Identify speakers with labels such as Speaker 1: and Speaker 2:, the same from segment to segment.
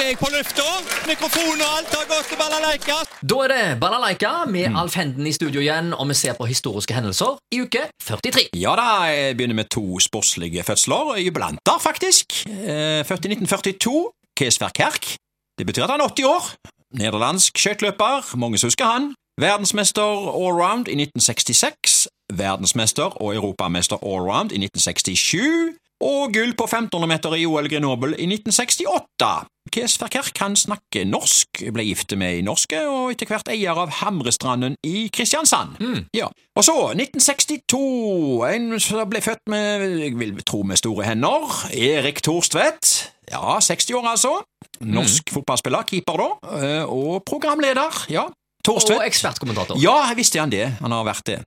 Speaker 1: er jeg på lufta. Mikrofon og alt har gått til balalaika.
Speaker 2: Da er det Balalaika med
Speaker 1: Mm.
Speaker 2: Alf Henden i studio igjen, og vi ser på historiske hendelser i uke 43.
Speaker 1: Ja da, jeg begynner med to sportslige fødsler, jubilanter faktisk. Eh, Født i 1942, Keesver Kerk. Det betyr at han er 80 år. Nederlandsk skøyteløper, mange som husker han. Verdensmester allround i 1966. Verdensmester og europamester allround i 1967. Og gull på 1500 meter i OL Grenoble i 1968. Keesver Kerk han snakker norsk, ble gift med ei norske, og etter hvert eier av Hamrestranden i Kristiansand. Ja. Og så, 1962, en som ble født med, jeg vil tro med store hender, Erik Thorstvedt. Ja, 60 år altså. Norsk fotballspiller, keeper da, eh, og programleder, ja.
Speaker 2: Og
Speaker 1: Thorstvedt.
Speaker 2: ekspertkommentator.
Speaker 1: Ja, jeg visste han det. Han har vært det.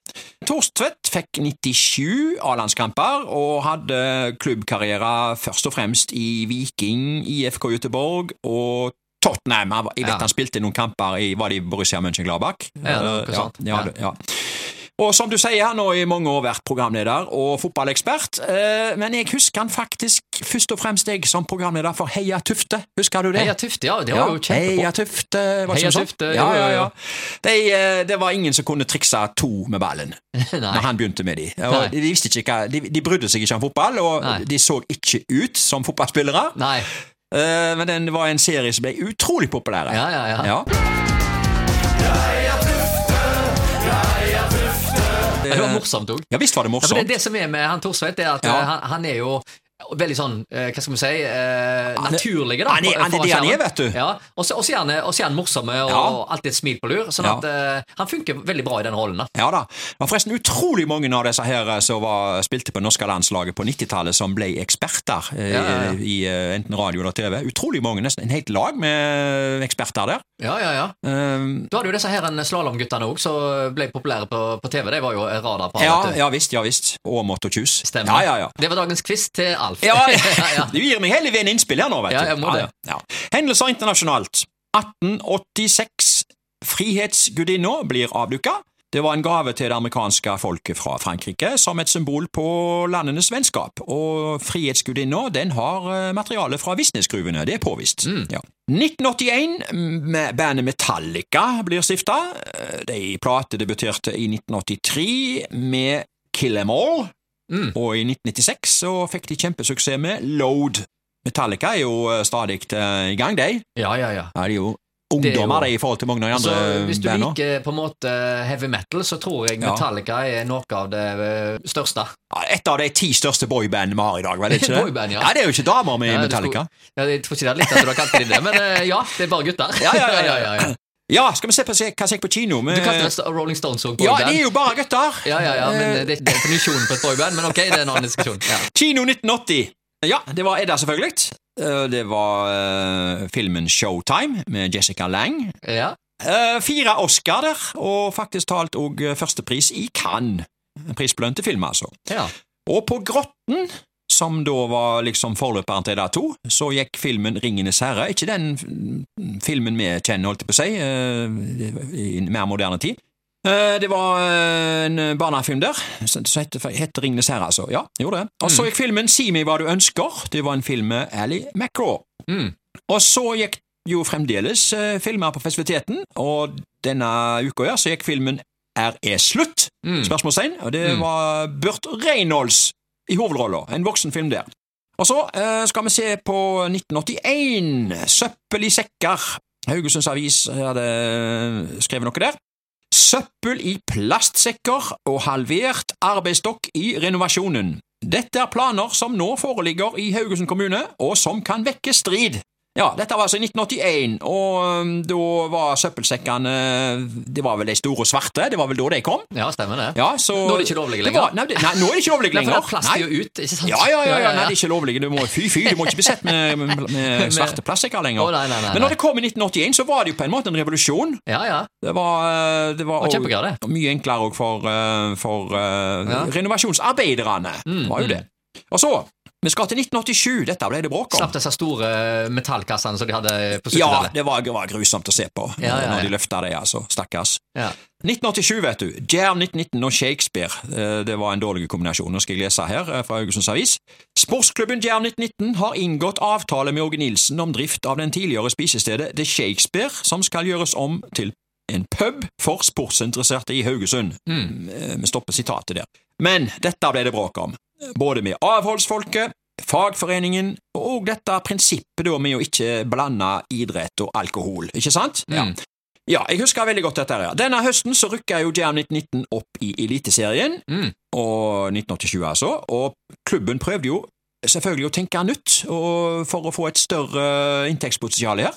Speaker 1: Torstvedt fikk 97 A-landskamper og hadde klubbkarriere først og fremst i Viking, IFK Göteborg og Tottenham. Han var- Jeg vet
Speaker 2: Ja.
Speaker 1: han spilte noen kamper i Var det i Borussia Mönchengladbach?
Speaker 2: Ja, det var ikke sant.
Speaker 1: Ja, ja, det- ja. Og som du sier, han har i mange år vært programleder og fotballekspert, eh, men jeg husker han faktisk først og fremst jeg som programleder for Heia Tufte. Husker du det?
Speaker 2: Heia Tufte, ja. Det var jo
Speaker 1: Heia
Speaker 2: kjempebra.
Speaker 1: Tufte, var det
Speaker 2: Heia
Speaker 1: ikke noe sånt?
Speaker 2: Tufte,
Speaker 1: Ja,
Speaker 2: jo,
Speaker 1: ja,
Speaker 2: jo,
Speaker 1: ja.
Speaker 2: jo.
Speaker 1: De, eh, det var ingen som kunne trikse to med ballen
Speaker 2: Nei.
Speaker 1: når han begynte med de.
Speaker 2: Nei.
Speaker 1: Og de, visste ikke hva, de, de brydde seg ikke om fotball, og
Speaker 2: Nei.
Speaker 1: de så ikke ut som fotballspillere.
Speaker 2: Nei.
Speaker 1: Eh, men den var en serie som ble utrolig populær.
Speaker 2: Ja, ja, ja. Det var morsomt òg.
Speaker 1: Ja, visst var det
Speaker 2: Ja, for det,
Speaker 1: morsomt.
Speaker 2: det som er med han Thorsvedt, er at
Speaker 1: Ja.
Speaker 2: eh, han, han er jo veldig sånn, eh, hva skal vi si, eh,
Speaker 1: Han er-
Speaker 2: naturlig, da.
Speaker 1: han er- han er
Speaker 2: foran
Speaker 1: det han er,
Speaker 2: skjermen.
Speaker 1: vet du.
Speaker 2: sånn. Ja, Og så og så er han, eh, og så er han morsomme og,
Speaker 1: Ja.
Speaker 2: og alltid et smil på lur. Sånn
Speaker 1: Ja.
Speaker 2: at eh, han funker veldig bra i den rollen. da.
Speaker 1: Ja da. Det var forresten utrolig mange av disse her eh, som var, spilte på norske landslaget på 90-tallet, som ble eksperter eh,
Speaker 2: Ja, ja, ja.
Speaker 1: i eh, enten radio eller TV. Utrolig mange, nesten en helt lag med eksperter der.
Speaker 2: Ja, ja, ja.
Speaker 1: Um,
Speaker 2: Du hadde jo disse her slalåmguttene òg, som ble populære på, på TV. De var jo radar på
Speaker 1: ja,
Speaker 2: vet du.
Speaker 1: ja visst, ja visst. Åmot og tjus.
Speaker 2: Stemmer.
Speaker 1: Ja, ja, ja.
Speaker 2: Det var dagens quiz til Alf.
Speaker 1: Ja,
Speaker 2: ja, ja.
Speaker 1: Du gir meg hele veien innspill her nå, vet du.
Speaker 2: Ja, jeg må det.
Speaker 1: Ja, ja. Hendelser internasjonalt. 1886. Frihetsgudinna blir avduka. Det var en gave til det amerikanske folket fra Frankrike som et symbol på landenes vennskap. Og Frihetsgudinna den har eh, materiale fra Visnesgruvene, det er påvist.
Speaker 2: Mm.
Speaker 1: Ja. 1981, med bandet Metallica blir stifta. De platedebuterte i 1983 med Kill 'Em All. Og i 1996 så fikk de kjempesuksess med Load. Metallica er jo eh, stadig eh, i gang, de.
Speaker 2: ja, ja, ja.
Speaker 1: Ja,
Speaker 2: Det
Speaker 1: de er jo
Speaker 2: er jo-
Speaker 1: ungdommer, de, i forhold til mange av de
Speaker 2: Så
Speaker 1: andre
Speaker 2: hvis du
Speaker 1: bandene.
Speaker 2: liker på en måte heavy metal, så tror jeg
Speaker 1: Ja.
Speaker 2: Metallica er noe av det eh, største.
Speaker 1: Ja, Et av de ti største boybandene vi har i dag, vel? Ikke det?
Speaker 2: Boyband, ja.
Speaker 1: ja, det er jo ikke damer med i
Speaker 2: Ja, det
Speaker 1: Metallica.
Speaker 2: skulle- Ja, jeg tror ikke det er litt at du har kalt dem det, men eh, ja, det er bare gutter.
Speaker 1: Ja, ja, ja, ja. Ja, skal vi se på se- hva som gikk på kino?
Speaker 2: Du
Speaker 1: Med,
Speaker 2: kalte det Rolling Stones òg
Speaker 1: ja, de
Speaker 2: boyband.
Speaker 1: er jo bare gutter!
Speaker 2: Ja, ja, ja, men
Speaker 1: Eh,
Speaker 2: det er ikke definisjonen på et boyband, men ok, det er en annen diskusjon. Ja.
Speaker 1: Kino 1980. Ja, det var Edda, selvfølgelig. Eh, Det var eh, filmen Showtime med Jessica Lang.
Speaker 2: Ja.
Speaker 1: Eh, fire Oscar der, og faktisk talt òg førstepris i Cannes. En prisbelønte film, altså.
Speaker 2: Ja.
Speaker 1: Og på Grotten, som da var liksom forløperen til de to, så gikk filmen Ringenes herre. Ikke den mm, filmen vi kjenner, holdt jeg på å si, eh, i en mer moderne tid. Eh, Det var eh, en barnefilm der, som som heter, heter Ringenes herre, altså. Ja, gjorde det. Og så gikk filmen Si meg hva du ønsker. Det var en film med Ally McRaw.
Speaker 2: Mm.
Speaker 1: Og så gikk jo fremdeles eh, filmer på festiviteten, og denne uka ja, så gikk filmen Er er slutt?
Speaker 2: Mm.
Speaker 1: Spørsmålstegn. Og det
Speaker 2: Mm.
Speaker 1: var Burt Reynolds i hovedrolla. En voksen film der. Og så eh, skal vi se på 1981. Søppel i sekker. Haugesunds Avis hadde eh, skrevet noe der. Søppel i plastsekker og halvert arbeidsstokk i renovasjonen. Dette er planer som nå foreligger i Haugesund kommune, og som kan vekke strid. Ja, dette var altså i 1981, og um, da var søppelsekkene eh, Det var vel de store svarte, det var vel da de kom?
Speaker 2: ja, stemmer det.
Speaker 1: Ja, så
Speaker 2: Nå er de ikke lovlige
Speaker 1: Det var-
Speaker 2: lenger.
Speaker 1: Nei, det- nei, nå er de ikke lovlige
Speaker 2: Nei, for da
Speaker 1: lenger.
Speaker 2: plaster jo ut, ikke sant?
Speaker 1: Ja, ja, ja, ja, nei, de er ikke lovlige. Du må, fy, fy, du må ikke bli sett med, med, med svarte plastsekker lenger.
Speaker 2: Å, nei, nei, nei,
Speaker 1: Men når
Speaker 2: nei.
Speaker 1: det kom i 1981, så var det jo på en måte en revolusjon.
Speaker 2: ja, ja.
Speaker 1: Det var, eh, det var
Speaker 2: Og
Speaker 1: også-
Speaker 2: kjempegøy, det.
Speaker 1: og mye enklere òg for, eh, for eh,
Speaker 2: Ja.
Speaker 1: renovasjonsarbeiderne.
Speaker 2: Mm,
Speaker 1: var jo
Speaker 2: mm.
Speaker 1: det. Og så Vi skal til 1987. Dette ble det bråk om.
Speaker 2: Slapp disse store eh, metallkassene som de hadde på
Speaker 1: Ja,
Speaker 2: 70-tallet.
Speaker 1: det var, var grusomt å se på
Speaker 2: Ja, ja,
Speaker 1: når
Speaker 2: ja.
Speaker 1: de løfta det, altså. Stakkars.
Speaker 2: Ja.
Speaker 1: 1987, vet du. Jern 1919 og Shakespeare. Eh, Det var en dårlig kombinasjon. Nå skal jeg lese her eh, fra Haugesunds Avis. Sportsklubben Jern 1919 har inngått avtale med Åge Nilsen om drift av den tidligere spisestedet The Shakespeare, som skal gjøres om til en pub for sportsinteresserte i Haugesund.
Speaker 2: Mm.
Speaker 1: Eh, Vi stopper sitatet der. Men dette ble det bråk om. Både med avholdsfolket, fagforeningen og dette prinsippet da med å ikke blande idrett og alkohol, ikke sant?
Speaker 2: Ja.
Speaker 1: Ja, jeg husker veldig godt dette her. ja. Denne høsten så rykka jo Jam 1919 opp i Eliteserien,
Speaker 2: Mm.
Speaker 1: og 1987 altså, og klubben prøvde jo selvfølgelig å tenke nytt og for å få et større inntektspotensial her.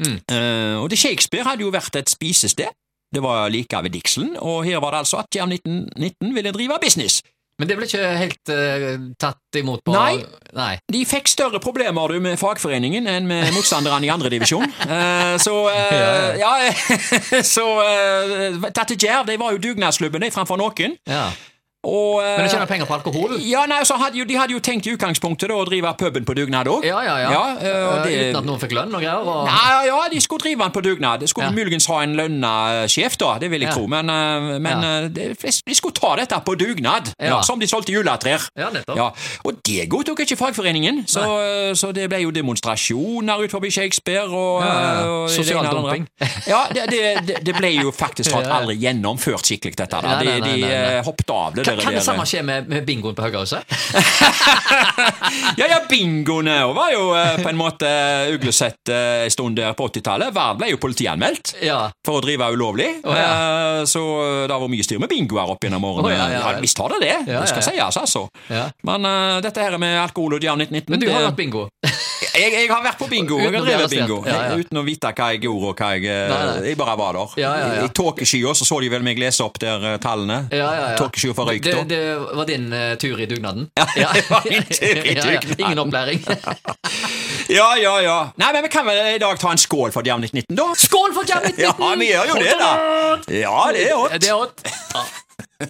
Speaker 2: Mm.
Speaker 1: Eh, og det Shakespeare hadde jo vært et spisested. Det var like ved Dixon, og her var det altså at Jam 1919 ville drive business.
Speaker 2: Men det ble ikke helt eh, tatt imot på
Speaker 1: Nei.
Speaker 2: Nei.
Speaker 1: De fikk større problemer du, med fagforeningen enn med motstanderne i andredivisjon. Uh, så eh, ja, eh, så uh, Tette Gjer, de var jo dugnadsklubben de framfor noen.
Speaker 2: Ja.
Speaker 1: Og, eh,
Speaker 2: Men de tjener penger på alkohol?
Speaker 1: ja, nei, så hadde jo, De hadde jo tenkt i utgangspunktet da, å drive puben på dugnad òg.
Speaker 2: Ja, ja, ja.
Speaker 1: eh, og
Speaker 2: Eh,
Speaker 1: det-
Speaker 2: Uten at noen fikk lønn og greier? Og...
Speaker 1: Nei, ja, de skulle drive den på dugnad. De skulle
Speaker 2: Ja.
Speaker 1: muligens ha en lønna eh, sjef, da. Det vil jeg
Speaker 2: Ja.
Speaker 1: tro. Men, eh, men
Speaker 2: Ja.
Speaker 1: eh, de, flest- de skulle ta dette på dugnad,
Speaker 2: Ja.
Speaker 1: ja, som de solgte juletrær.
Speaker 2: Ja, nettopp.
Speaker 1: Ja, og det godtok ikke fagforeningen, så, så det ble jo demonstrasjoner ut forbi Shakespeare og, eh,
Speaker 2: Ja, ja, ja.
Speaker 1: og det
Speaker 2: Sosial
Speaker 1: ene og det andre.
Speaker 2: dumping.
Speaker 1: Ja, det, det, det, det ble jo faktisk talt
Speaker 2: Ja.
Speaker 1: aldri gjennomført skikkelig, dette. Da.
Speaker 2: Nei,
Speaker 1: De,
Speaker 2: nei, nei,
Speaker 1: de
Speaker 2: nei, nei.
Speaker 1: eh, hoppet av det.
Speaker 2: Kan,
Speaker 1: dere
Speaker 2: kan det
Speaker 1: der.
Speaker 2: samme skje med, med bingoen på Høghahuset?
Speaker 1: Ja, ja, bingoene og var jo eh, på en måte eh, uglesett eh, en stund der på 80-tallet. Vard ble jo politianmeldt.
Speaker 2: Ja.
Speaker 1: For å drive ulovlig.
Speaker 2: Å,
Speaker 1: Eh, Så det har vært mye styr med bingoer opp gjennom
Speaker 2: Å,
Speaker 1: årene.
Speaker 2: ja, ja, ja.
Speaker 1: visst har det det.
Speaker 2: Ja,
Speaker 1: det skal
Speaker 2: ja,
Speaker 1: sies, altså.
Speaker 2: ja.
Speaker 1: Men eh, dette her med alkohol og Jan 1919
Speaker 2: Men du har
Speaker 1: det-
Speaker 2: hatt bingo?
Speaker 1: jeg, jeg har vært på bingo.
Speaker 2: Uten
Speaker 1: Jeg
Speaker 2: å
Speaker 1: har
Speaker 2: bli
Speaker 1: drevet
Speaker 2: arrestert.
Speaker 1: bingo.
Speaker 2: Ja, ja.
Speaker 1: Uten å vite hva jeg gjorde og hva jeg eh,
Speaker 2: Nei, nei.
Speaker 1: Jeg bare var der.
Speaker 2: Ja, ja, ja.
Speaker 1: I tåkeskya så så de vel meg lese opp der eh, tallene.
Speaker 2: Ja, ja, ja.
Speaker 1: Tåkeskya for røyk,
Speaker 2: det,
Speaker 1: da.
Speaker 2: det var din eh, tur i dugnaden?
Speaker 1: Ja, det var min tur
Speaker 2: Ja,
Speaker 1: i
Speaker 2: ja.
Speaker 1: dugnaden.
Speaker 2: Ingen opplæring.
Speaker 1: Ja, ja, ja. Nei, men vi kan vel i dag ta en skål for Jam 1919, da?
Speaker 2: Skål for Jam 1919!
Speaker 1: Ja, vi gjør jo det, da. Ja, det er hot.
Speaker 2: Det er hot. Ja.